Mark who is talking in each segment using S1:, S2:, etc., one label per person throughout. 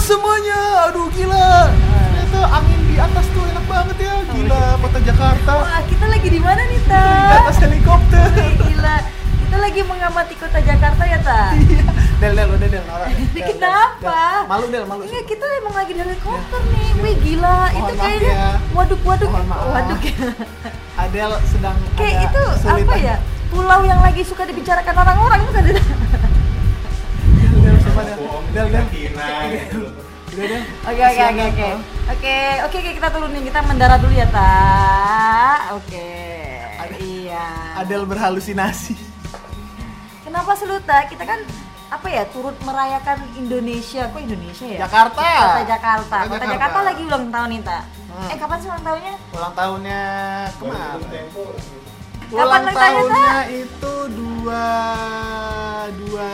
S1: semuanya. Aduh gila. Ternyata angin di atas tuh enak banget ya. Gila, kota Jakarta.
S2: Wah, kita lagi di mana nih, Ta?
S1: Di atas helikopter.
S2: Wih, Gila. Kita lagi mengamati kota Jakarta ya, Ta?
S1: Iya. Del, del, udah del, Nora. Del, Del,
S2: Kenapa?
S1: Del. Malu del, malu.
S2: Enggak, Iya, kita emang lagi di helikopter nih. Wih, gila.
S1: Iya. Mohon
S2: itu
S1: maaf
S2: kayaknya
S1: ya.
S2: waduk-waduk.
S1: Mohon maaf.
S2: Waduk ya.
S1: Adel sedang
S2: Kayak
S1: ada
S2: itu apa
S1: kesulitan.
S2: ya? Pulau yang lagi suka dibicarakan orang-orang bukan Dada?
S1: Del, Del, siapa Del? Del, Del. Udah, Del.
S2: Oke oke
S1: Silakan,
S2: oke oke.
S1: Del.
S2: Oke oke oke kita turunin kita mendarat dulu ya ta. Oke. Iya.
S1: Adel berhalusinasi.
S2: Kenapa seluta? Kita kan apa ya turut merayakan Indonesia. Kok Indonesia ya?
S1: Jakarta.
S2: Kota Jakarta.
S1: Kota
S2: Kota
S1: Jakarta.
S2: Jakarta lagi ulang tahun nih ta.
S1: Hmm.
S2: Eh kapan sih ulang tahunnya?
S1: Ulang tahunnya kemarin.
S2: Kapan
S1: Ulang
S2: ulang tahunnya,
S1: tahunnya itu dua dua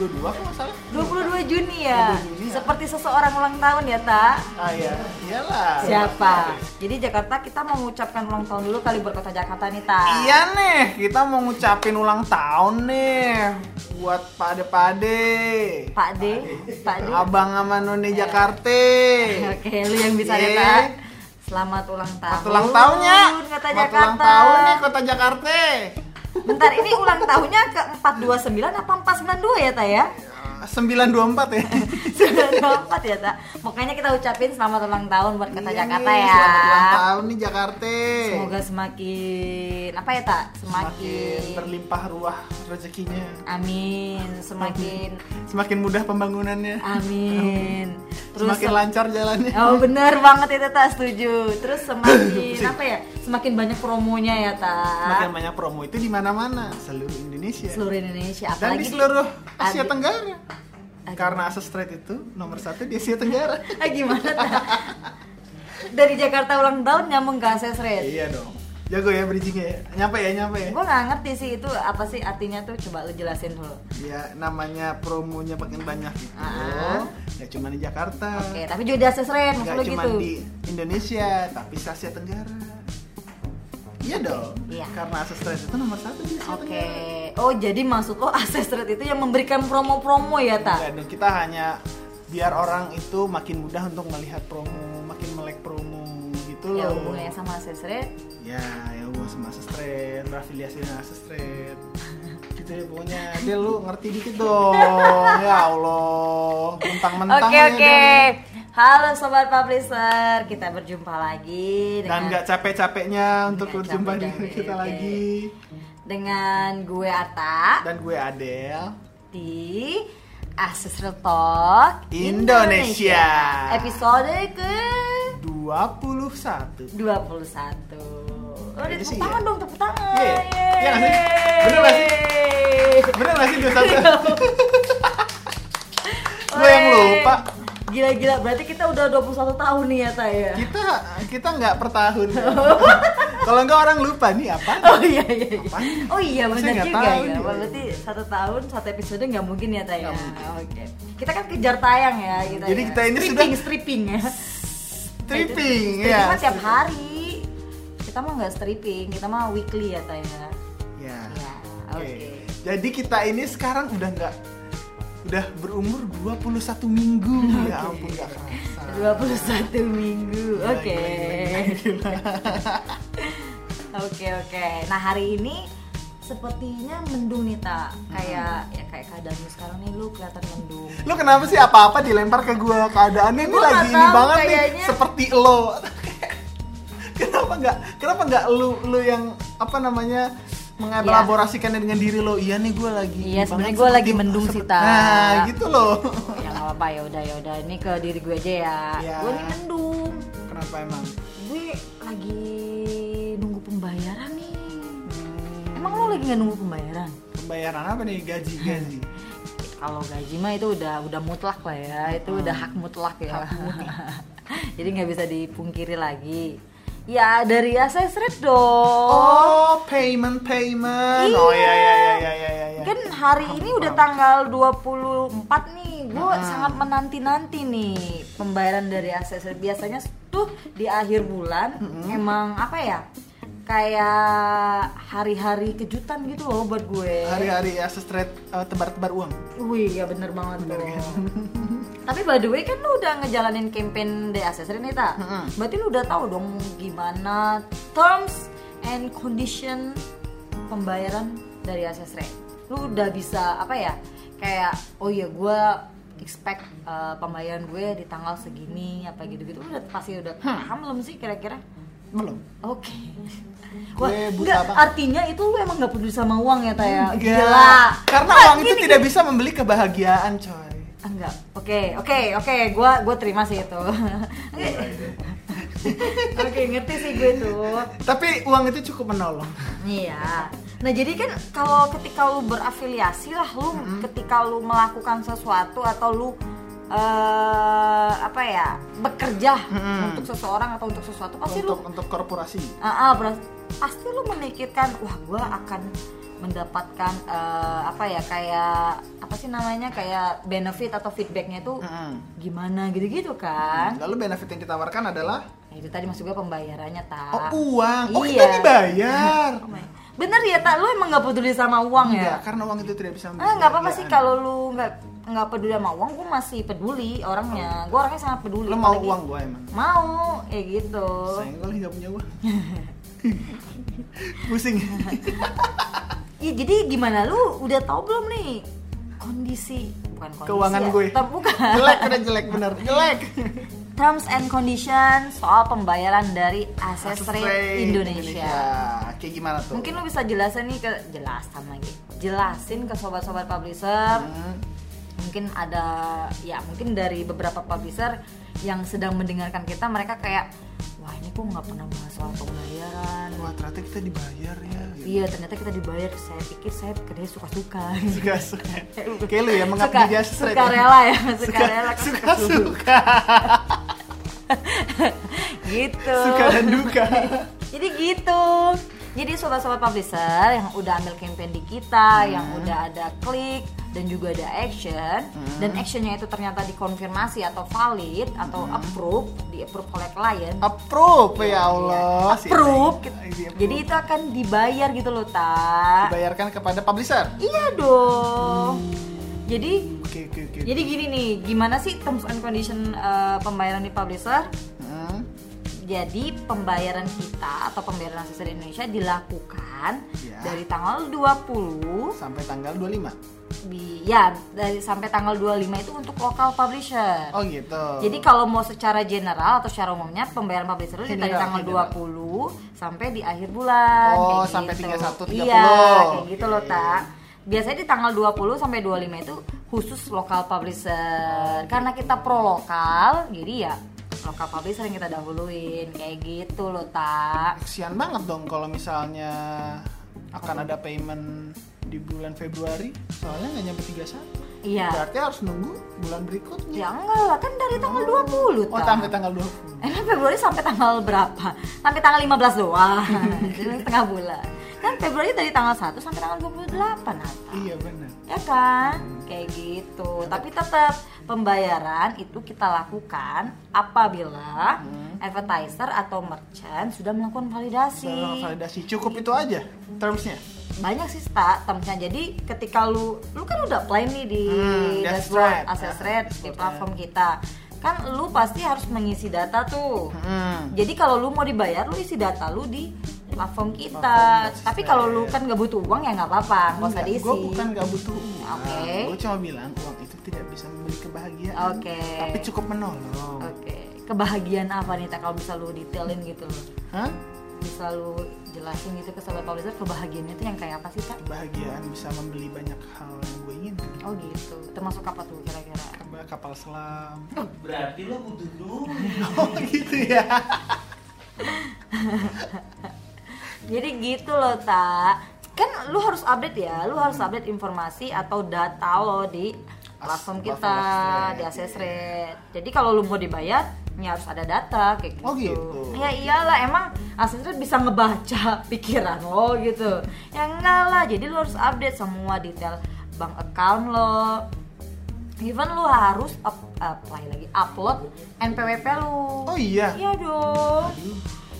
S1: dua dua kok nggak salah?
S2: 22 Juni ya.
S1: 22 Juni ya.
S2: Seperti seseorang ulang tahun ya ta.
S1: Ah iya, iyalah.
S2: Siapa? Jadi Jakarta kita mengucapkan ulang tahun dulu kali buat Kota Jakarta nih ta.
S1: Iya nih, kita mau ngucapin ulang tahun nih buat pade-pade.
S2: Pak D, Pak D.
S1: Abang sama None
S2: Iya.
S1: Jakarta.
S2: Oke, lu yang bisa ya,
S1: Ye.
S2: Ta. Selamat ulang tahun.
S1: Iya. Selamat ulang tahunnya.
S2: Kota
S1: Selamat
S2: Jakarta.
S1: ulang tahun nih Kota Jakarta.
S2: Bentar, ini ulang tahunnya ke 429 apa 492 ya, Ta ya?
S1: 924 ya.
S2: 924 ya, Ta. Makanya kita ucapin selamat ulang tahun buat Kota
S1: Iya
S2: Jakarta
S1: nih,
S2: ya.
S1: Selamat ulang tahun nih Jakarta.
S2: Semoga semakin apa ya, Ta? Semakin,
S1: semakin berlimpah ruah rezekinya.
S2: Amin, semakin
S1: Semakin mudah pembangunannya.
S2: amin. Terus
S1: semakin lancar jalannya.
S2: Oh bener banget itu Ta, setuju Terus semakin apa ya Semakin banyak promonya ya Ta
S1: Semakin banyak promo itu di mana-mana, seluruh Indonesia.
S2: seluruh Indonesia
S1: Dan
S2: apalagi
S1: di seluruh Asia
S2: Ad-
S1: Tenggara.
S2: Ad-
S1: Karena Asus Trade itu nomor satu di Asia Tenggara.
S2: Ah, gimana Ta? dari Jakarta ulang tahun nyambung ke akses rate
S1: iya dong. Jago ya bridgingnya ya. Nyampe ya, nyampe ya.
S2: gue nggak ngerti sih itu apa sih artinya tuh coba lu jelasin dulu
S1: Ya namanya promonya makin banyak gitu.
S2: Ah.
S1: Nggak cuma di Jakarta.
S2: oke tapi juga di akses rate maksud
S1: Nggak
S2: lu
S1: cuma
S2: gitu
S1: di Indonesia, tapi se Asia Tenggara. Iya dong.
S2: Iya.
S1: Karena Asus Trade itu nomor satu di Asia
S2: oke
S1: Tenggara.
S2: oh jadi maksud lo akses rate itu yang memberikan promo-promo ya ta
S1: Iya, Dan kita hanya biar orang itu makin mudah untuk melihat promo, makin melek promo gitu loh.
S2: ya hubungannya sama akses rate
S1: Ya, ya gue sama sestren, berafiliasi dengan sestren. gitu ya pokoknya. Dia lu ngerti dikit dong. ya Allah, mentang-mentang
S2: Oke
S1: ya,
S2: oke.
S1: Del.
S2: Halo sobat publisher, kita berjumpa lagi
S1: Dan
S2: dengan
S1: nggak capek-capeknya untuk
S2: Nggak
S1: berjumpa dengan
S2: capek-capek,
S1: kita
S2: oke.
S1: lagi.
S2: dengan gue Arta.
S1: Dan gue Adel.
S2: di Asus Real Talk
S1: Indonesia.
S2: Episode ke
S1: 21
S2: 21 Oh,
S1: Kayaknya
S2: tepuk
S1: sih
S2: tangan
S1: ya.
S2: dong, tepuk tangan
S1: Iya, iya nggak sih?
S2: Yeay.
S1: Bener nggak sih? Bener gak sih 21? Gue yang
S2: Wey.
S1: lupa.
S2: Gila-gila, berarti kita udah 21 tahun nih ya, Taya
S1: Kita kita nggak per tahun. Kalau enggak orang lupa nih apa?
S2: Oh iya, iya, iya
S1: Apaan?
S2: Oh iya,
S1: Masa
S2: bener
S1: nggak
S2: juga
S1: tahu
S2: ya
S1: nih?
S2: Wah, Berarti satu tahun, satu episode nggak mungkin ya, Taya
S1: Nggak
S2: Oke Kita kan kejar tayang ya kita
S1: Jadi
S2: ya.
S1: kita ini sudah-
S2: stripping, stripping ya
S1: Tripping
S2: Stripping
S1: ya.
S2: mah tiap hari. Kita mah nggak stripping, kita mah weekly ya Taya. Ya,
S1: Ya.
S2: oke.
S1: Oke. Jadi kita ini sekarang udah nggak udah berumur 21 minggu. Ya
S2: Oke.
S1: ampun nggak kerasa.
S2: 21 minggu.
S1: Gila,
S2: Oke.
S1: gila, gila,
S2: iya.
S1: gila.
S2: Oke, oke. Nah, hari ini sepertinya mendung nih, Ta. Kayak ya kayak keadaan lu sekarang nih lu kelihatan mendung.
S1: Lu kenapa sih apa-apa dilempar ke gua keadaannya ini
S2: Gua nggak
S1: lagi ini
S2: tahu,
S1: banget nih
S2: kayaknya.
S1: seperti lo. kenapa nggak kenapa nggak lu lu yang apa namanya mengelaborasikannya dengan diri lo iya nih gua lagi
S2: Iya,
S1: ini banget
S2: sebenarnya gua lagi
S1: seperti-
S2: mendung sih,
S1: seperti-
S2: Ta.
S1: nah gitu loh
S2: Ya nggak apa-apa ya udah ya udah ini ke diri gue aja ya.
S1: Iya.
S2: Gue nih mendung.
S1: kenapa emang
S2: Gue lagi nunggu pembayaran nih. Hmm. Emang lu lagi nggak nunggu pembayaran?
S1: Hmm, pembayaran apa nih gaji gaji
S2: kalau gaji mah itu udah udah mutlak lah ya itu udah hak mutlak ya jadi nggak bisa dipungkiri lagi ya dari akses rate dong
S1: Oh, payment, payment.
S2: Iya.
S1: Oh iya iya iya iya iya. iya.
S2: kan hari ini udah tanggal 24 nih gue
S1: Ah.
S2: sangat menanti nanti nih pembayaran dari akses rate biasanya tuh di akhir bulan emang apa ya kayak hari-hari kejutan gitu loh buat gue
S1: Hari-hari ya straight eh, tebar-tebar uang.
S2: Wih, ya iya bener banget
S1: Bener
S2: tuh.
S1: kan?
S2: Tapi by the way kan lu udah ngejalanin campaign di Accessory nih ta.
S1: Mm-mm.
S2: Berarti lu udah tahu dong gimana terms and condition pembayaran dari Accessory. Lu udah bisa apa ya? Kayak oh ya gua expect uh, pembayaran gue di tanggal segini apa gitu-gitu Lu udah pasti udah
S1: Hmm.
S2: paham belum sih kira-kira?
S1: belum
S2: Oke.
S1: Gue
S2: Wah,
S1: buta
S2: enggak,
S1: banget.
S2: artinya itu lu emang gak peduli sama uang ya, Taya?
S1: karena
S2: Wah,
S1: uang itu
S2: gini,
S1: tidak bisa membeli kebahagiaan coy
S2: Ah, enggak oke oke oke gue gua terima sih itu oke ngerti sih gue tuh
S1: tapi uang itu cukup menolong
S2: iya nah jadi kan kalau ketika lu berafiliasi lah lu ketika lu melakukan sesuatu atau lu eh apa ya bekerja
S1: Mm-mm.
S2: untuk seseorang atau untuk sesuatu pasti lu
S1: untuk untuk korporasi
S2: Ah, ah, beras- pasti lu memikirkan wah gua akan mendapatkan eh, apa ya kayak apa sih namanya kayak benefit atau feedbacknya itu
S1: Mm-mm.
S2: gimana gitu-gitu kan
S1: lalu benefit yang ditawarkan adalah
S2: nah, itu tadi maksud gua pembayarannya tak
S1: oh uang oh kita
S2: Ah. Iya.
S1: dibayar
S2: bener ya tak lu emang nggak peduli sama uang
S1: Enggak,
S2: ya
S1: karena uang itu tidak bisa
S2: ah
S1: membeli
S2: nggak apa-apa sih
S1: kebahagiaan.
S2: kalau lu nggak nggak peduli sama uang gua masih peduli orangnya gua orangnya sangat peduli
S1: lo mau
S2: apalagi-
S1: uang gue emang
S2: mau ya gitu
S1: senggol nggak punya uang pusing
S2: Iya jadi gimana lu udah tahu belum nih kondisi bukan kondisi
S1: keuangan
S2: ya,
S1: gue
S2: tetap bukan
S1: jelek udah jelek bener jelek
S2: terms and condition soal pembayaran dari akses
S1: Akses
S2: rate
S1: rate
S2: Indonesia.
S1: kayak gimana tuh
S2: Mungkin lu bisa jelasin nih ke jelasan lagi. Jelasin ke sobat-sobat publisher.
S1: Hmm.
S2: Mungkin ada ya mungkin dari beberapa publisher yang sedang mendengarkan kita mereka kayak wah ini kok nggak pernah bahas soal pembayaran.
S1: wah ternyata kita dibayar ya gitu.
S2: Iya ternyata kita dibayar. Saya pikir saya kerja suka-suka.
S1: suka suka kayak lu ya
S2: suka,
S1: mengabdi jasa
S2: suka rela ya suka rela
S1: suka suka
S2: gitu
S1: suka dan duka
S2: jadi gitu jadi sobat-sobat publisher yang udah ambil campaign di
S1: Hmm.
S2: kita yang udah ada klik dan juga ada action
S1: Hmm.
S2: dan actionnya itu ternyata dikonfirmasi atau valid atau
S1: Hmm.
S2: approve di approve oleh klien
S1: approve ya Allah Iya, si
S2: Iya. approve gitu.
S1: Neng. Di approve.
S2: jadi itu akan dibayar gitu loh ta
S1: dibayarkan kepada publisher
S2: iya dong
S1: Hmm.
S2: jadi
S1: oke oke oke
S2: Jadi gini nih, gimana sih terms and condition eh, pembayaran di publisher?
S1: Hmm.
S2: Jadi pembayaran kita atau pembayaran asesor Indonesia dilakukan
S1: Ya.
S2: dari tanggal 20
S1: sampai tanggal 25
S2: di ya dari sampai tanggal 25 itu untuk lokal publisher.
S1: oh gitu
S2: Jadi kalau mau secara general atau secara umumnya pembayaran publisher itu dari
S1: General,
S2: tanggal
S1: general.
S2: 20 sampai di akhir bulan.
S1: Oh,
S2: kayak
S1: sampai 31,
S2: gitu. Iya,
S1: 30.
S2: kayak gitu loh,
S1: Oke.
S2: Tak. Biasanya di tanggal 20 sampai 25 itu khusus lokal
S1: Oh,
S2: publisher.
S1: gitu.
S2: Karena kita pro lokal, jadi ya lokal publisher yang kita dahuluin kayak gitu loh, Tak.
S1: kesian banget dong kalau misalnya akan ada payment di bulan Februari soalnya nggak nyampe 31
S2: Iya.
S1: berarti harus nunggu bulan berikutnya
S2: Ya enggak lah, kan dari tanggal 20,
S1: oh
S2: Tak.
S1: sampai tanggal 20
S2: Emang Februari sampai tanggal berapa? Sampai tanggal 15 doang. Jadi setengah bulan. Kan Februari dari tanggal 1 sampai tanggal 28 Nata.
S1: iya benar
S2: Ya kan? Kayak gitu. Tapi tetap pembayaran itu kita lakukan apabila
S1: Hmm.
S2: advertiser atau merchant sudah melakukan validasi.
S1: Dalam validasi cukup itu aja termsnya
S2: Banyak sih tak termsnya. Jadi ketika lu lu kan udah apply nih di
S1: Hmm, that's
S2: dashboard
S1: right.
S2: access
S1: Ah,
S2: rate di
S1: dashboard, ah.
S2: platform kita. Kan lu pasti harus mengisi data tuh.
S1: hmm.
S2: Jadi kalau lu mau dibayar, lu isi data lu di platform kita.
S1: Platform dan
S2: Tapi
S1: sistem.
S2: kalau lu kan nggak butuh uang ya nggak apa-apa, nggak usah diisi.
S1: gue bukan gak butuh uang
S2: Oke.
S1: gue cuma bilang uang itu tidak bisa membeli kebahagiaan
S2: Oke.
S1: tapi cukup menolong
S2: Oke. Kebahagiaan apa nih tak kalau bisa lu detailin gitu loh.
S1: Hah?
S2: Bisa lu jelasin gitu ke sobat publisher kebahagiaannya tuh yang kayak apa sih, Kak?
S1: kebahagiaan bisa membeli banyak hal yang gue inginkan
S2: Oh gitu. Termasuk apa tuh kira-kira?
S1: Coba kapal selam
S3: Berarti lo butuh dulu.
S1: oh gitu ya
S2: Jadi gitu loh, Tak. Kan lu harus update ya, lu harus update informasi atau data lo di
S1: platform
S2: platform kita,
S1: Access
S2: di
S1: Rate,
S2: access rate. Jadi kalau lu mau dibayar, ya harus ada data kayak gitu.
S1: Oh, gitu.
S2: Ya iyalah, emang access rate bisa ngebaca pikiran lo gitu. Ya enggak lah, jadi lu harus update semua detail bank account lo. Even lu harus up- apply lagi, upload NPWP lu.
S1: oh iya
S2: Iya dong.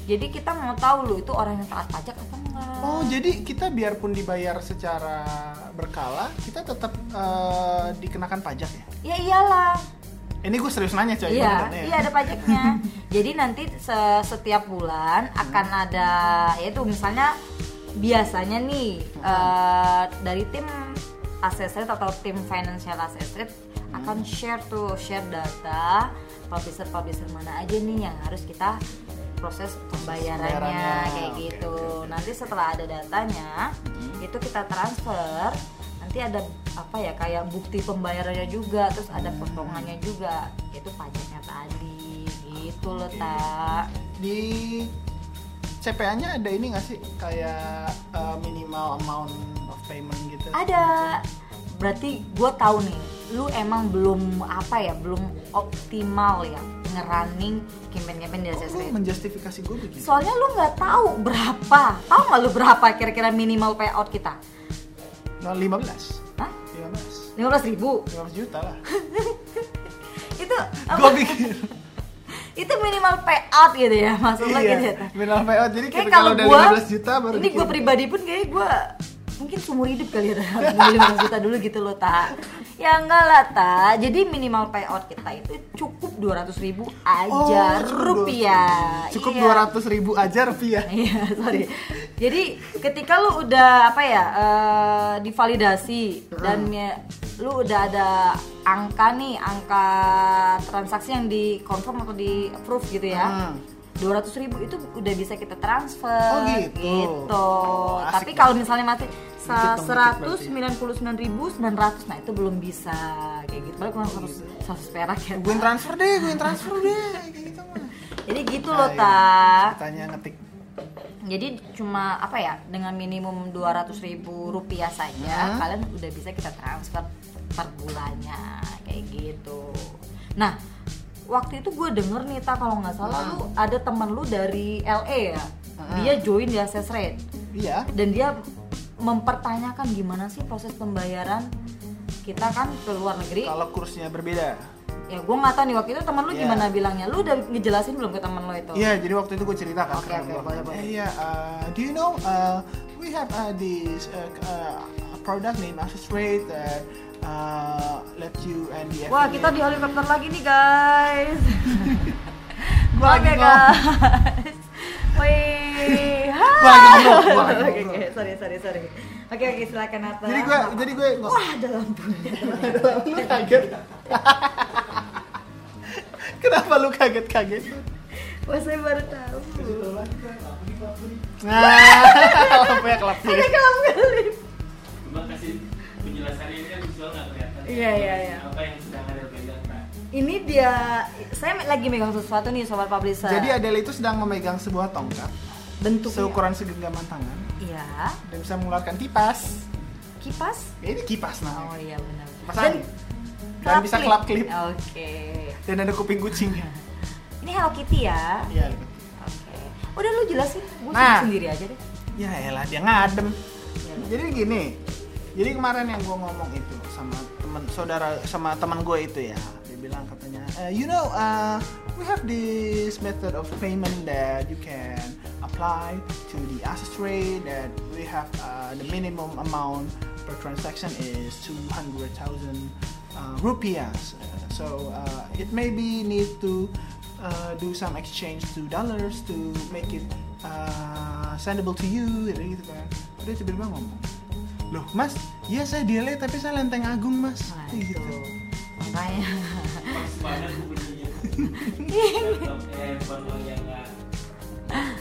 S2: Jadi kita mau tahu lu itu orang yang taat pajak apa enggak.
S1: Oh, jadi kita biarpun dibayar secara berkala, kita tetap eh, dikenakan pajak ya?
S2: Ya iyalah.
S1: Ini gue serius nanya coy.
S2: Iya,
S1: beneran ya.
S2: iya ada pajaknya. Jadi nanti se- setiap bulan akan
S1: Hmm.
S2: ada yaitu misalnya biasanya nih eh, dari tim asesret atau tim financial asesret
S1: Hmm.
S2: akan share tuh share data publisher publisher mana aja nih yang harus kita proses pembayarannya
S1: Pembayarannya,
S2: kayak
S1: oke,
S2: gitu.
S1: oke, oke.
S2: Nanti setelah ada datanya
S1: Mhm.
S2: itu kita transfer nanti ada apa ya kayak bukti pembayarannya juga terus ada
S1: Hmm.
S2: potongannya juga itu pajaknya tadi gitu loh tak
S1: Di CPA-nya ada ini nggak sih kayak eh, minimal amount of payment gitu?
S2: ada berarti gue tahu nih lu emang belum apa ya belum optimal ya ngerunning campaign-campaign di
S1: Kok lu
S2: SSR
S1: menjustifikasi gue begitu?
S2: soalnya lu nggak tahu berapa tahu nggak lu berapa kira-kira minimal payout kita
S1: Nah, 15.
S2: Hah?
S1: 15.
S2: 15 ribu
S1: 15 juta lah.
S2: itu
S1: gue pikir.
S2: itu minimal payout gitu ya maksud lo gitu ya Ta?
S1: Minimal payout jadi
S2: Kayak
S1: kita
S2: kalau
S1: Iya. gitu, kalau udah
S2: gua,
S1: 15 juta baru
S2: ini gue
S1: dikirim.
S2: pribadi pun kayak gue mungkin seumur hidup kali ya harus beli 15 juta dulu gitu loh ta ya enggak lah ta jadi minimal payout kita itu cukup 200
S1: Oh,
S2: ribu aja
S1: cukup
S2: rupiah
S1: 200. Cukup
S2: Iya.
S1: 200 ribu aja rupiah.
S2: Iya, sorry. Jadi ketika lu udah apa ya eh, divalidasi dan ya, lu udah ada angka nih, angka transaksi yang di confirm atau di approve gitu ya.
S1: Hmm.
S2: 200.000 ribu itu udah bisa kita transfer.
S1: Oh, gitu.
S2: gitu.
S1: Oh, asik
S2: Tapi
S1: banget.
S2: kalau misalnya masih
S1: Dikit ya. dong, dikit berarti.
S2: 199.900 nah itu belum bisa kayak gitu. Paling kurang
S1: Iya.
S2: 100, 100 perak ya.
S1: Gue transfer deh, gue transfer deh kayak gitu mah.
S2: Jadi gitu loh,
S1: Ayo,
S2: Ta.
S1: Tanya ngetik.
S2: Jadi cuma apa ya dengan minimum 200.000 ribu rupiah
S1: Hmm.
S2: saja kalian udah bisa kita transfer per bulannya kayak gitu. Nah waktu itu gue denger nih ta kalau nggak salah lu ada temen lu dari LA ya,
S1: Hmm.
S2: dia join di Access Rate
S1: Iya.
S2: dan dia mempertanyakan gimana sih proses pembayaran kita kan ke luar negeri.
S1: Kalau kursnya berbeda.
S2: Ya gue nggak tahu nih waktu itu temen lu
S1: Iya.
S2: gimana bilangnya, lu udah ngejelasin belum ke temen lu itu?
S1: Iya, jadi waktu itu gue cerita kan.
S2: Oke,
S1: ke temen
S2: oke,
S1: gua
S2: boleh,
S1: kan,
S2: boleh.
S1: "Eh, Iya, uh, do you know uh, we have uh, this uh, uh, product name Access Rate uh, uh, let you and the affiliate."
S2: Wah, kita di helikopter lagi nih, guys.
S1: Gua lagi
S2: Oke,
S1: ngomong.
S2: guys. Wih.
S1: Gua lagi ngobrol, gua lagi
S2: Oke,
S1: ngobrol.
S2: oke, sorry, sorry, sorry. Oke, oke, silakan Nata.
S1: Jadi gue jadi gue
S2: Wah, ada lampunya.
S1: lu kaget. Kenapa lu kaget-kaget?
S2: Wah, saya baru tahu.
S1: Nah, lampunya kelap sih.
S2: Ada kolam kelip.
S3: Cuma kasih penjelasannya ini kan visual nggak kelihatan.
S2: Iya, iya, iya.
S3: Apa yang sedang ada Nah, pegang Pak?
S2: Ini dia saya lagi megang sesuatu nih sobat publisher.
S1: Jadi Adele itu sedang memegang sebuah tongkat
S2: bentuknya
S1: seukuran segenggaman tangan
S2: Iya,
S1: dan bisa mengeluarkan kipas.
S2: kipas.
S1: Ya, ini kipas
S2: Oh
S1: namanya.
S2: iya benar.
S1: Kipas angin. Dan bisa kelap klip
S2: Oke.
S1: dan ada kuping kucingnya.
S2: Ini Hello Kitty ya.
S1: Iya. Lip.
S2: Oke. Udah lu jelasin, gue
S1: Nah.
S2: sendiri aja deh.
S1: Ya elah dia ngadem.
S2: Ya.
S1: Jadi gini. Jadi kemarin yang gue ngomong itu sama teman saudara sama teman gue itu ya, dia bilang katanya, "Eh, you know, uh, we have this method of payment that you can apply to the access rate that we have uh, the minimum amount per transaction is 200,000 uh, rupias. Uh, so uh, it maybe need to uh, do some exchange to dollars to make it uh, sendable to you gitu kan." Udah tiba-tiba ngomong, loh mas iya saya delay tapi saya lenteng agung mas Gitu. Kayak
S2: Nah, itu. Makanya.
S3: Pas banget gue belinya. Laptop eh manual yang nggak.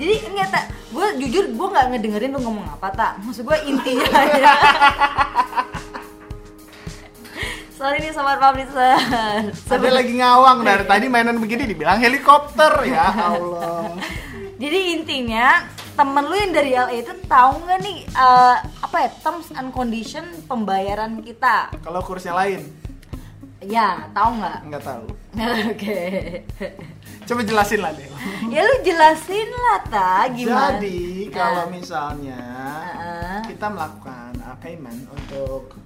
S2: Jadi enggak tak, gue jujur gue nggak ngedengerin lu ngomong apa tak. Maksud gue intinya ya. aja. Sorry nih sobat publisher.
S1: ada
S2: Sobat-
S1: lagi ngawang dari tadi mainan begini dibilang helikopter ya Allah
S2: Jadi intinya temen lu yang dari LA itu tahu nggak nih eh, apa ya terms and condition pembayaran kita?
S1: kalau kursnya lain
S2: Ya tahu nggak?
S1: nggak tahu
S2: Oke.
S1: coba jelasin lah deh
S2: ya lu jelasin lah ta gimana
S1: jadi
S2: Nah,
S1: kalau misalnya
S2: Heeh.
S1: kita melakukan uh, payment untuk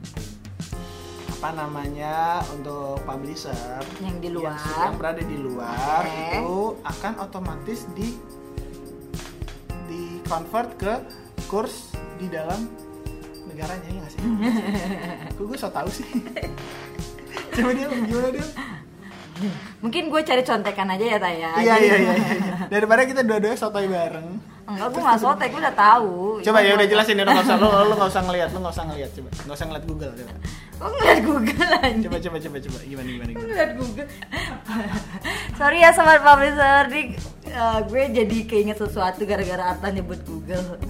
S1: apa namanya untuk publisher
S2: Yang di luar.
S1: yang, yang berada di luar
S2: Oke.
S1: itu akan otomatis di di convert ke kurs di dalam negaranya ya nggak sih? Kok gue so tau sih? Coba dia gimana dia?
S2: Mungkin gue cari contekan aja ya Taya.
S1: Iya iya iya. iya. Daripada kita dua-dua sotoy bareng.
S2: Enggak, gue nggak sotek, gue udah tahu.
S1: Coba ya udah jelasin
S2: jelasin
S1: ya, lu nggak usah lu lu nggak usah ngelihat, lu nggak usah ngelihat coba, nggak usah ngeliat Google coba.
S2: Gue ngeliat Google aja.
S1: Coba coba coba coba gimana gimana
S2: Gue
S1: gimana.
S2: ngeliat Google. Sorry ya sobat publisher, di, eh, gue jadi keinget sesuatu gara-gara Arta nyebut Google.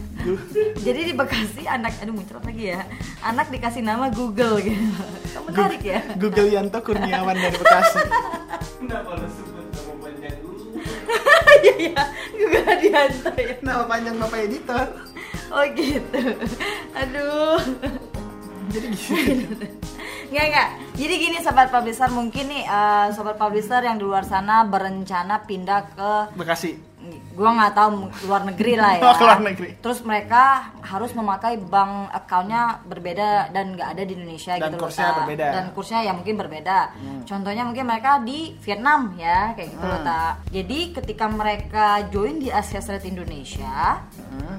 S2: jadi di Bekasi anak, aduh muncrat lagi ya, anak dikasih nama Google gitu. Menarik ya.
S1: Google Yanto Kurniawan dari Bekasi.
S3: Kenapa lu sebut nama panjang dulu?
S2: Iya iya, Google Adianto ya.
S1: Nama panjang Bapak editor.
S2: Oh gitu. Aduh.
S1: Jadi gitu.
S2: Nggak, nggak. Jadi gini sobat publisher mungkin nih eh, sobat publisher yang di luar sana berencana pindah ke
S1: Bekasi.
S2: gua nggak tahu luar negeri lah ya.
S1: Oh, ke luar negeri.
S2: Terus mereka harus memakai bank accountnya berbeda dan nggak ada di Indonesia
S1: Dan
S2: gitu
S1: kursnya
S2: Ta.
S1: berbeda. Hmm.
S2: Dan kursnya ya mungkin berbeda. Contohnya mungkin mereka di Vietnam ya kayak gitu loh Ta. Jadi ketika mereka join di Asia Street Indonesia,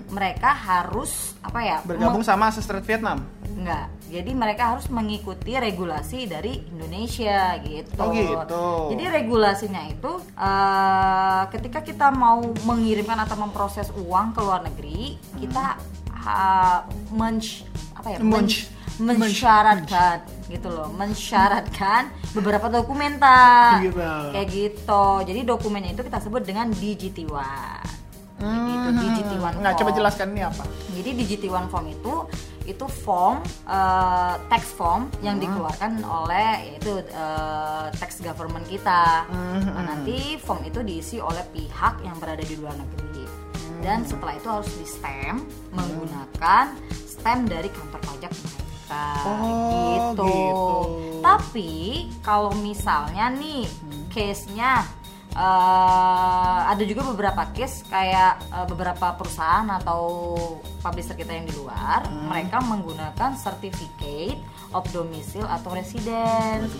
S2: mereka harus apa ya?
S1: Hmm. Bergabung sama Sestret Vietnam.
S2: Enggak. Jadi mereka harus mengikuti regulasi dari Indonesia gitu.
S1: Oh, gitu.
S2: Jadi regulasinya itu eh, ketika kita mau mengirimkan atau memproses uang ke luar
S1: Hmm.
S2: negeri, kita eh, mensh- apa ya?
S1: Mensh-
S2: men- mensyaratkan gitu loh, mensyaratkan beberapa dokumen tak
S1: Gitu.
S2: kayak gitu. Jadi dokumennya itu kita sebut dengan DGT1. Kayak gitu, DGT1.
S1: Nggak Hmm. Nah, coba
S2: form.
S1: jelaskan ini apa?
S2: Jadi di GT1 form itu itu form eh, tax form
S1: Hmm.
S2: yang dikeluarkan oleh yaitu eh, tax government kita.
S1: Hmm.
S2: Nah, nanti form itu diisi oleh pihak yang berada di luar negeri. Dan
S1: Hmm.
S2: setelah itu harus di stamp menggunakan stamp dari kantor pajak mereka.
S1: Oh,
S2: gitu.
S1: gitu.
S2: Tapi kalau misalnya nih
S1: Hmm.
S2: case-nya eh, ada juga beberapa case kayak eh, beberapa perusahaan atau publisher kita yang di luar,
S1: Hmm.
S2: mereka menggunakan certificate of domicile atau resident.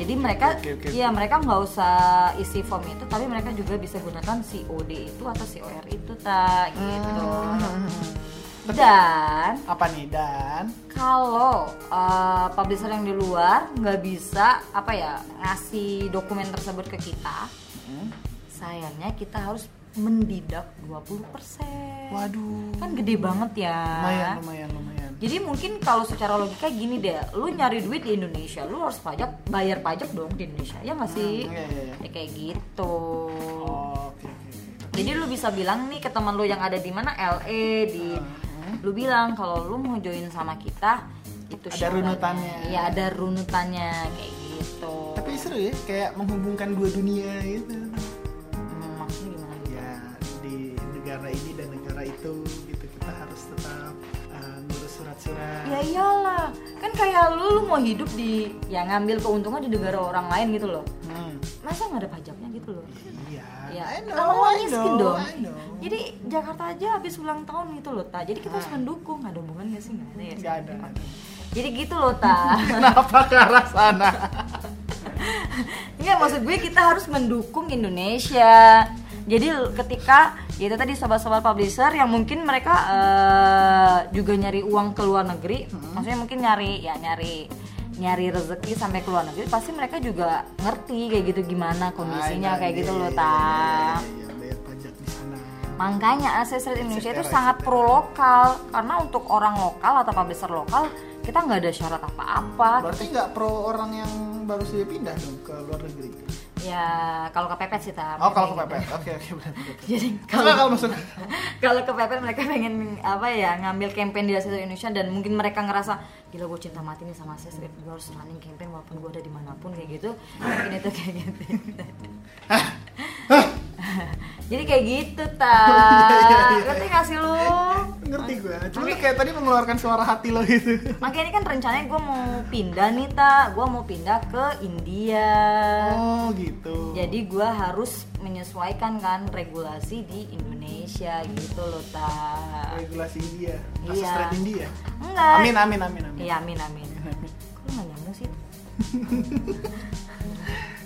S2: Jadi mereka
S1: oke, oke,
S2: iya mereka nggak usah isi form itu, tapi mereka juga bisa gunakan COD itu atau COR itu tak gitu.
S1: Hmm.
S2: Dan
S1: Apa nih dan?
S2: kalau eh, publisher yang di luar nggak bisa apa ya ngasih dokumen tersebut ke kita, Hmm? sayangnya kita harus mendidak 20%.
S1: Waduh.
S2: Kan gede banget ya.
S1: Lumayan lumayan lumayan.
S2: Jadi mungkin kalau secara logika gini deh, lu nyari duit di Indonesia, lu harus pajak, bayar pajak dong di Indonesia. Ya nggak sih?
S1: iya, iya, iya.
S2: Ya kayak gitu.
S1: Oh, Oke oke oke.
S2: Jadi lu bisa bilang nih ke teman lu yang ada di mana LA di lu bilang kalau lu mau join sama kita itu
S1: Hmm. Ada
S2: syaratnya.
S1: runutannya.
S2: Iya, ada runutannya kayak gitu.
S1: Tapi seru ya, kayak menghubungkan dua dunia gitu.
S2: Hmm, maksudnya gimana?
S1: Ya di negara ini dan negara itu gitu kita harus tetap eh, ngurus surat-surat.
S2: Ya iyalah, kan kayak lu lu mau hidup di ya ngambil keuntungan di negara orang lain gitu loh.
S1: Hmm.
S2: Masa nggak ada pajaknya gitu loh?
S1: Iya.
S2: Ya,
S1: I know,
S2: lama-lama
S1: I
S2: miskin
S1: know,
S2: dong.
S1: I know.
S2: Jadi Jakarta aja habis ulang tahun gitu loh, Ta. Jadi kita harus mendukung. Ada hubungan gak sih? Gak ada ya?
S1: Ah. Nggak ada.
S2: Oke. Jadi gitu loh, Ta.
S1: Kenapa ke arah sana?
S2: Enggak maksud gue kita harus mendukung Indonesia. Jadi ketika ya itu tadi sobat-sobat publisher yang mungkin mereka eh, juga nyari uang ke luar negeri,
S1: Hmm.
S2: maksudnya mungkin nyari ya nyari nyari rezeki sampai ke luar negeri, pasti mereka juga ngerti kayak gitu
S1: I
S2: gimana kondisinya
S1: know,
S2: kayak gitu
S1: Ah, iya,
S2: loh
S1: iya,
S2: ta.
S1: iya, iya, iya, bayar pajak di sana.
S2: Makanya akses rate Indonesia itu
S1: Akses
S2: sangat
S1: rate.
S2: pro lokal karena untuk orang lokal atau publisher lokal kita nggak ada syarat apa-apa.
S1: Berarti nggak pro orang yang baru saja pindah dong ke luar negeri.
S2: Ya kalau kepepet sih ta.
S1: Oh kalau kepepet, oke oke benar. benar.
S2: Jadi
S1: Kalau kalau masuk
S2: kalau kepepet mereka pengen apa ya ngambil campaign di Asia Indonesia dan mungkin mereka ngerasa gila gue cinta mati nih sama Asia Street gue harus running campaign walaupun gue ada dimanapun kayak gitu mungkin itu kayak gitu jadi kayak gitu ta
S1: Iya,
S2: ngerti gak sih lu
S1: ngerti gue. Cuma lu kayak tadi mengeluarkan suara hati lo gitu.
S2: makanya ini kan rencananya gue mau pindah nih ta gue mau pindah ke India
S1: Oh gitu.
S2: jadi gue harus menyesuaikan kan regulasi di Indonesia gitu loh ta
S1: regulasi India,
S2: Iya.
S1: kasus trade India.
S2: enggak
S1: Amin Iya. amin amin amin.
S2: Iya amin amin. Kok lu gak nyambung sih?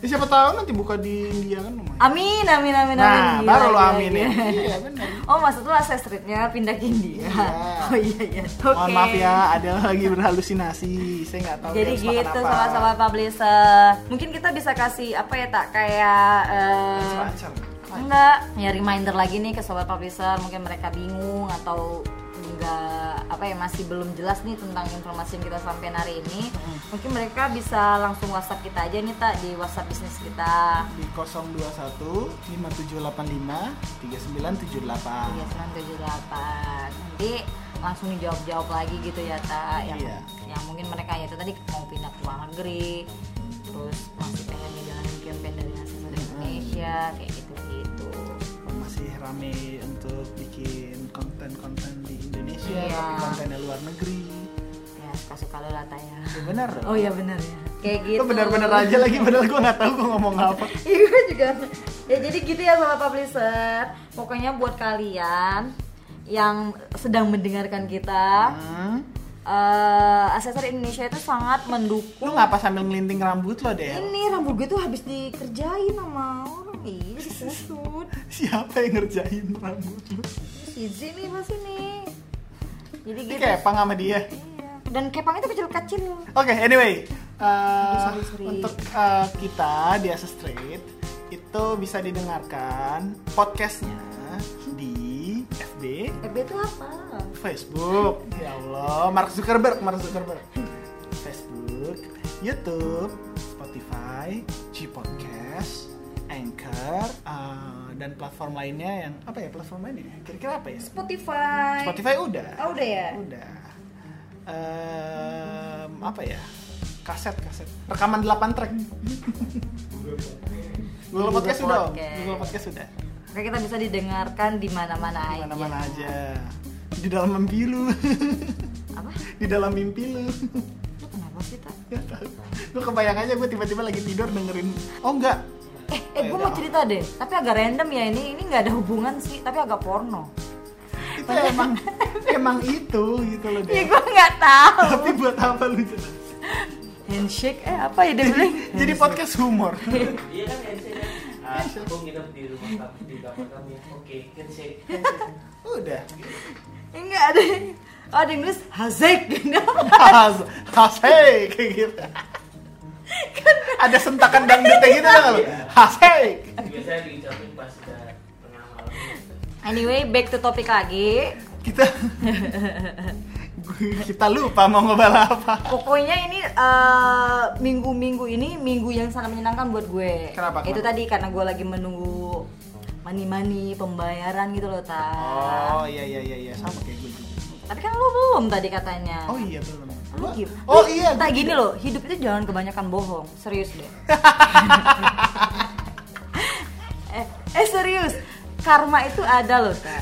S1: Ya, siapa tahu nanti buka di India kan lumayan.
S2: Amin, amin, amin, Iya, amin.
S1: Nah,
S2: Gila,
S1: baru lo
S2: gila,
S1: aminin.
S2: gila.
S1: Iya, benar.
S2: Oh, maksud lo access streetnya pindah ke India?
S1: Iya.
S2: Oh iya, iya. Oke.
S1: Mohon maaf ya, ada lagi berhalusinasi. Saya nggak tahu
S2: Jadi
S1: dia harus makan
S2: gitu
S1: apa.
S2: sobat-sobat publisher. Mungkin kita bisa kasih apa ya tak kayak eh,
S1: Lancar.
S2: enggak ya reminder lagi nih ke sobat publisher mungkin mereka bingung atau enggak apa ya masih belum jelas nih tentang informasi yang kita sampaikan hari ini. Mungkin mereka bisa langsung WhatsApp kita aja nih tak di WhatsApp bisnis kita.
S1: Di 021 5785 3978.
S2: 3978 nanti langsung dijawab-jawab lagi gitu ya ta yang
S1: Iya.
S2: yang mungkin mereka ya itu tadi mau pindah ke luar negeri terus masih pengen ngejalanin campaign dari hasil dari Indonesia kayak gitu gitu
S1: Oh, Masih rame untuk bikin konten-konten di Indonesia,
S2: Iya.
S1: tapi kontennya luar negeri.
S2: ya suka suka lo lah ta ya
S1: Ya benar dong.
S2: oh iya bener ya kayak gitu
S1: Lo benar-benar aja lagi, padahal gue nggak tahu gue ngomong apa.
S2: Iya gue juga. Ya jadi gitu ya sobat publisher. Pokoknya buat kalian yang sedang mendengarkan kita,
S1: Hmm.
S2: eh asesor Indonesia itu sangat
S1: Lo
S2: mendukung
S1: ngapa sambil ngelinting rambut lo deh?
S2: Ini rambut gue tuh habis dikerjain sama orang nih, disusut.
S1: Siapa yang ngerjain rambut lo?
S2: Izin nih pas ini. Jadi
S1: Ini
S2: gitu.
S1: kepang sama dia.
S2: Iya. Dan kepang itu kecil-kecil.
S1: Oke, anyway, uh,
S2: Sorry, sorry.
S1: untuk uh, kita di Asa Street itu bisa didengarkan podcastnya di FB,
S2: FB itu apa?
S1: Facebook, ya Allah, Mark Zuckerberg, Mark Zuckerberg, Facebook, YouTube, Spotify, G Podcast, Anchor, uh, dan platform lainnya yang apa ya platform lainnya? Kira-kira apa ya?
S2: Spotify.
S1: Spotify udah.
S2: Oh, udah ya?
S1: Udah. Em, apa ya? Kaset, kaset. Rekaman 8 track. Google Podcast
S2: Google
S1: sudah. Om.
S2: Podcast.
S1: Google Podcast sudah.
S2: Oke, kita bisa didengarkan di mana-mana aja.
S1: Mana mana aja. Di dalam mimpi lu.
S2: Apa?
S1: Di dalam mimpi lu.
S2: Lu kenapa sih, Ta?
S1: Gak tau. Gue kebayang aja gue tiba-tiba lagi tidur dengerin. Oh enggak.
S2: Eh, eh
S1: Ya
S2: gue mau cerita deh. Tapi agak random ya ini. Ini nggak ada hubungan sih, tapi agak porno.
S1: Itu emang emang itu gitu loh
S2: Ya
S1: deh.
S2: gue nggak tahu.
S1: Tapi buat apa lu jelas?
S2: Handshake eh apa ya dia bilang?
S1: Jadi podcast humor.
S3: Iya kan handshake kan? Ah, aku nginep di rumah kamu di kamar kamu. ya. Oke, kan, handshake.
S1: Udah.
S2: Enggak ada. Oh, ada yang nulis Hazek gitu.
S1: Has, has, hey, kayak gitu. Ada sentakan dangdutnya gitu kan lo. Has, hey.
S3: Biasanya diucapin pas udah tengah malam. gitu.
S2: Anyway, back to topik lagi.
S1: Kita gitu. kita lupa mau ngebahas apa.
S2: Pokoknya ini eh, minggu-minggu ini minggu yang sangat menyenangkan buat gue.
S1: Kenapa, kenapa?
S2: Itu tadi karena gue lagi menunggu mani-mani pembayaran gitu loh, Ta.
S1: Oh iya iya iya iya sama kayak gue juga.
S2: Tapi kan lu belum tadi katanya.
S1: Oh iya belum.
S2: Lu gitu.
S1: Gua-
S2: gim-
S1: Oh
S2: Lu-
S1: iya.
S2: Ta,
S1: gua-
S2: gini loh, hidup itu jangan kebanyakan bohong. Serius deh. eh, eh serius. Karma itu ada loh, Ta.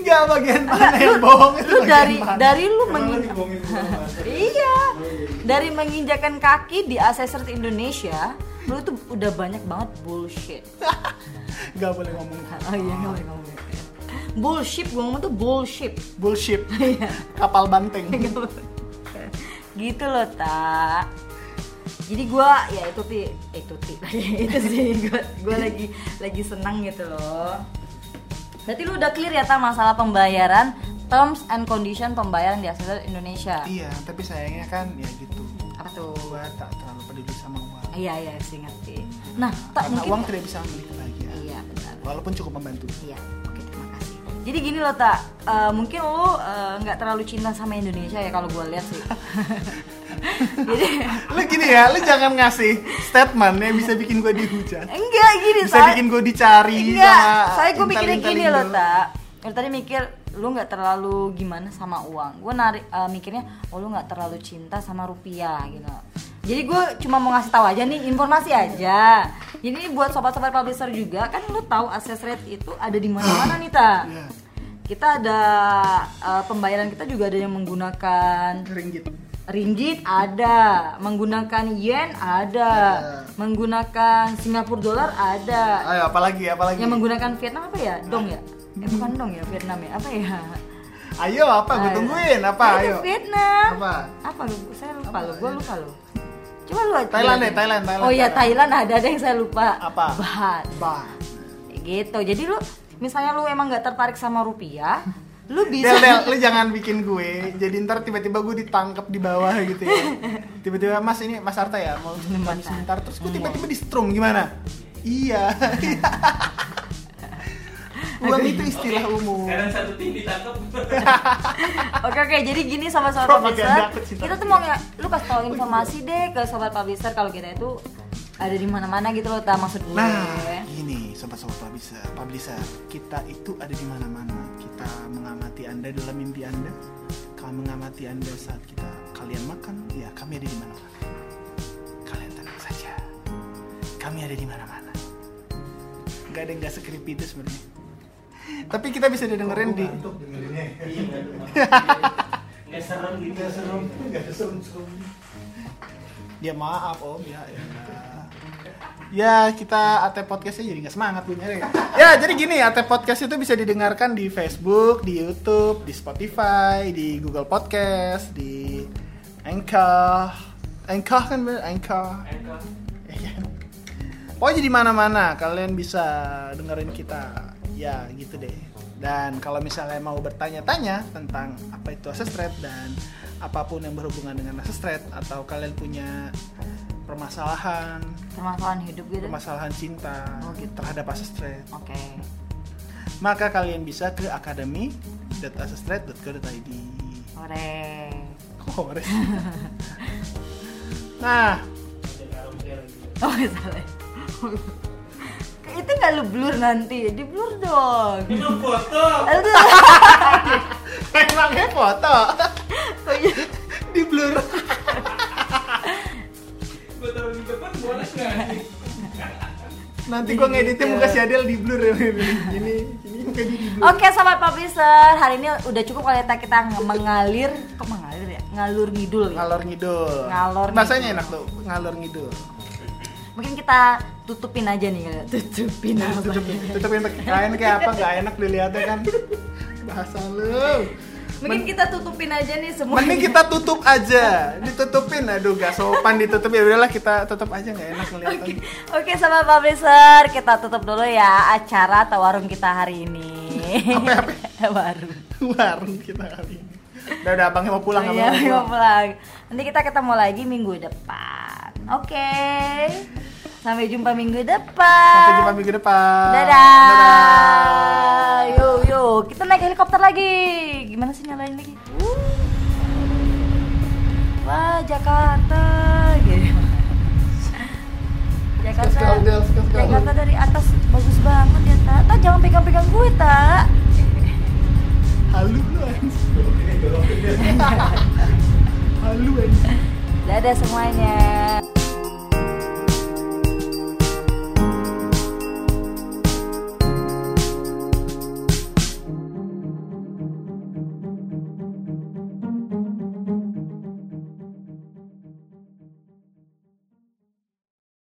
S1: Nggak bagian mana
S2: Enggak,
S1: yang
S2: lu-
S1: Iya, bohong itu
S2: lu
S1: bagian
S2: dari
S1: mana?
S2: dari lu menginjak
S3: Ngomongin bohong.
S2: iya dari menginjakan kaki di asesor Indonesia lu tuh udah banyak banget bullshit
S1: nggak boleh ngomong
S2: oh iya nggak boleh ngomong bullshit gua ngomong tuh bullshit
S1: bullshit.
S2: Iya.
S1: Kapal banteng.
S2: Nggak boleh. gitu loh ta jadi gua ya itu ti itu ti itu sih gua, gua lagi lagi senang gitu loh berarti lu udah clear ya ta masalah pembayaran terms and condition pembayaran di asesor Indonesia
S1: Iya, tapi sayangnya kan ya gitu.
S2: apa tuh
S1: Gue tak terlalu peduli sama uang.
S2: Iya iya sih ngerti. Nah, tak
S1: Karena
S2: mungkin.
S1: uang tidak bisa membeli kebahagiaan.
S2: Iya benar.
S1: Walaupun cukup membantu.
S2: Iya. Oke terima kasih. Jadi gini loh tak, Eh, mungkin lo eh, nggak terlalu cinta sama Indonesia ya kalau gue lihat sih. Jadi
S1: lu gini ya, lu jangan ngasih statement yang bisa bikin gue dihujat,
S2: enggak gini
S1: bisa
S2: saya.
S1: bikin gue dicari
S2: enggak.
S1: sama
S2: Iya, Saya gue mikirnya
S1: intel-intel
S2: gini
S1: Indo.
S2: loh tak. Dari tadi mikir lu nggak terlalu gimana sama uang. Gue narik eh, mikirnya oh lu nggak terlalu cinta sama rupiah gitu. Jadi gue cuma mau ngasih tahu aja nih informasi aja. Jadi buat sobat-sobat publisher juga kan lu tahu access rate itu ada di mana-mana nih ta.
S1: Iya.
S2: Kita ada eh, pembayaran kita juga ada yang menggunakan
S1: Ringgit.
S2: Ringgit ada, menggunakan yen ada, menggunakan Singapura dolar ada.
S1: Ayo apalagi apalagi.
S2: Yang menggunakan Vietnam apa ya? Dong ya? Eh bukan dong ya Vietnam ya? Apa ya?
S1: Ayo apa gue
S2: Ayo.
S1: tungguin apa
S2: Itu
S1: ayo.
S2: Vietnam.
S1: Apa?
S2: Apa lu? Saya lupa lo, gue lupa lo. Coba lu aja.
S1: Thailand deh, Thailand, Thailand,
S2: Oh iya,
S1: Thailand.
S2: Thailand ada ada yang saya lupa.
S1: Apa?
S2: Baht.
S1: Bah.
S2: Gitu. Jadi lu misalnya lu emang nggak tertarik sama rupiah, lu bisa
S1: Del, Del, lu jangan bikin gue. Jadi ntar tiba-tiba gue ditangkap di bawah gitu ya. Tiba-tiba Mas ini Mas Arta ya mau pinjam kami sebentar terus gue tiba-tiba di strum gimana? Iya. Uang itu istilah
S3: Oke,
S1: umum.
S3: Sekarang satu tim ditangkap.
S2: Oke oke, jadi gini sama sobat
S1: Kok makin
S2: publisher,
S1: dapet sih,
S2: kita
S1: tapi.
S2: tuh mau nge- lu kasih tau informasi deh ke sobat publisher kalau kita itu ada di mana-mana gitu loh, tak maksud gue.
S1: Nah, gini sobat-sobat publisher, publisher, kita itu ada di mana-mana. Kita mengamati Anda dalam mimpi Anda. Kami mengamati Anda saat kita kalian makan, ya kami ada di mana-mana. Kalian tenang saja. Kami ada di mana-mana. Gak ada yang gak sekrip itu sebenarnya. Tapi kita bisa didengerin di
S3: Nggak serem gitu. Nggak serem.
S1: dia maaf om ya ya Ya, kita AT Podcastnya jadi nggak semangat punya Ya jadi gini AT Podcast itu bisa didengarkan di Facebook, di YouTube, di Spotify, di Google Podcast, di Anchor, Anchor kan bener Anchor.
S3: Anchor.
S1: Iya. Pokoknya di mana-mana kalian bisa dengerin kita. Ya, gitu deh. Dan kalau misalnya mau bertanya-tanya tentang apa itu access threat dan apapun yang berhubungan dengan access threat atau kalian punya permasalahan,
S2: Permasalahan hidup gitu.
S1: permasalahan cinta
S2: Oh, gitu.
S1: terhadap access threat,
S2: Oke.
S1: maka kalian bisa ke academy.accessthreat.co.id.
S2: Ore.
S1: Kok kores? nah,
S3: Ada karunger gitu.
S2: Oh, salah. itu nggak lu blur nanti, di blur dong.
S3: Ini belum foto.
S2: Aduh,
S1: emangnya foto
S2: kok iya?
S1: di blur.
S3: Gue taruh di depan boleh nggak?
S1: Nanti
S2: Iya,
S1: gua ngeditnya
S2: gitu.
S1: muka si Adel di blur ya. Ini ini muka dia di blur.
S2: Oke sobat publisher, hari ini udah cukup kalau kita kita mengalir, kok mengalir ya? Ngalur ngidul. ya?
S1: Ngalor ngidul.
S2: Ngalor
S1: Bahasanya
S2: ngidul.
S1: enak tuh, ngalor ngidul.
S2: Mungkin kita tutupin aja nih, kali ya. tutupin apa?
S1: Nah, Tutupin, tutupin pakai kain kayak apa nggak enak dilihatnya kan. Bahasa lu.
S2: Mungkin kita tutupin aja nih semua.
S1: Mending kita tutup aja, ditutupin. Aduh, gak sopan ditutup ya udahlah kita tutup aja nggak enak kelihatan.
S2: Oke sobat publisher, kita tutup dulu ya acara atau warung kita hari ini. ya,
S1: Apa-apa?
S2: warung.
S1: Warung kita kali ini. Udah udah abangnya mau pulang,
S2: Oh
S1: abangnya
S2: iya,
S1: mau
S2: mau
S1: pulang.
S2: pulang. Nanti kita ketemu lagi minggu depan. Oke. Sampai jumpa minggu depan.
S1: Sampai jumpa minggu depan.
S2: Dadah. Yo yo, kita naik helikopter lagi. Gimana sih nyalain lagi? Wuh. Wah, Jakarta. Gitu. Jakarta.
S1: Let's go, girls, let's go.
S2: Jakarta dari atas bagus banget ya, Tak. Tak jangan pegang-pegang gue, Tak.
S1: Halu lu anjing. Halu anjing.
S2: Dadah semuanya.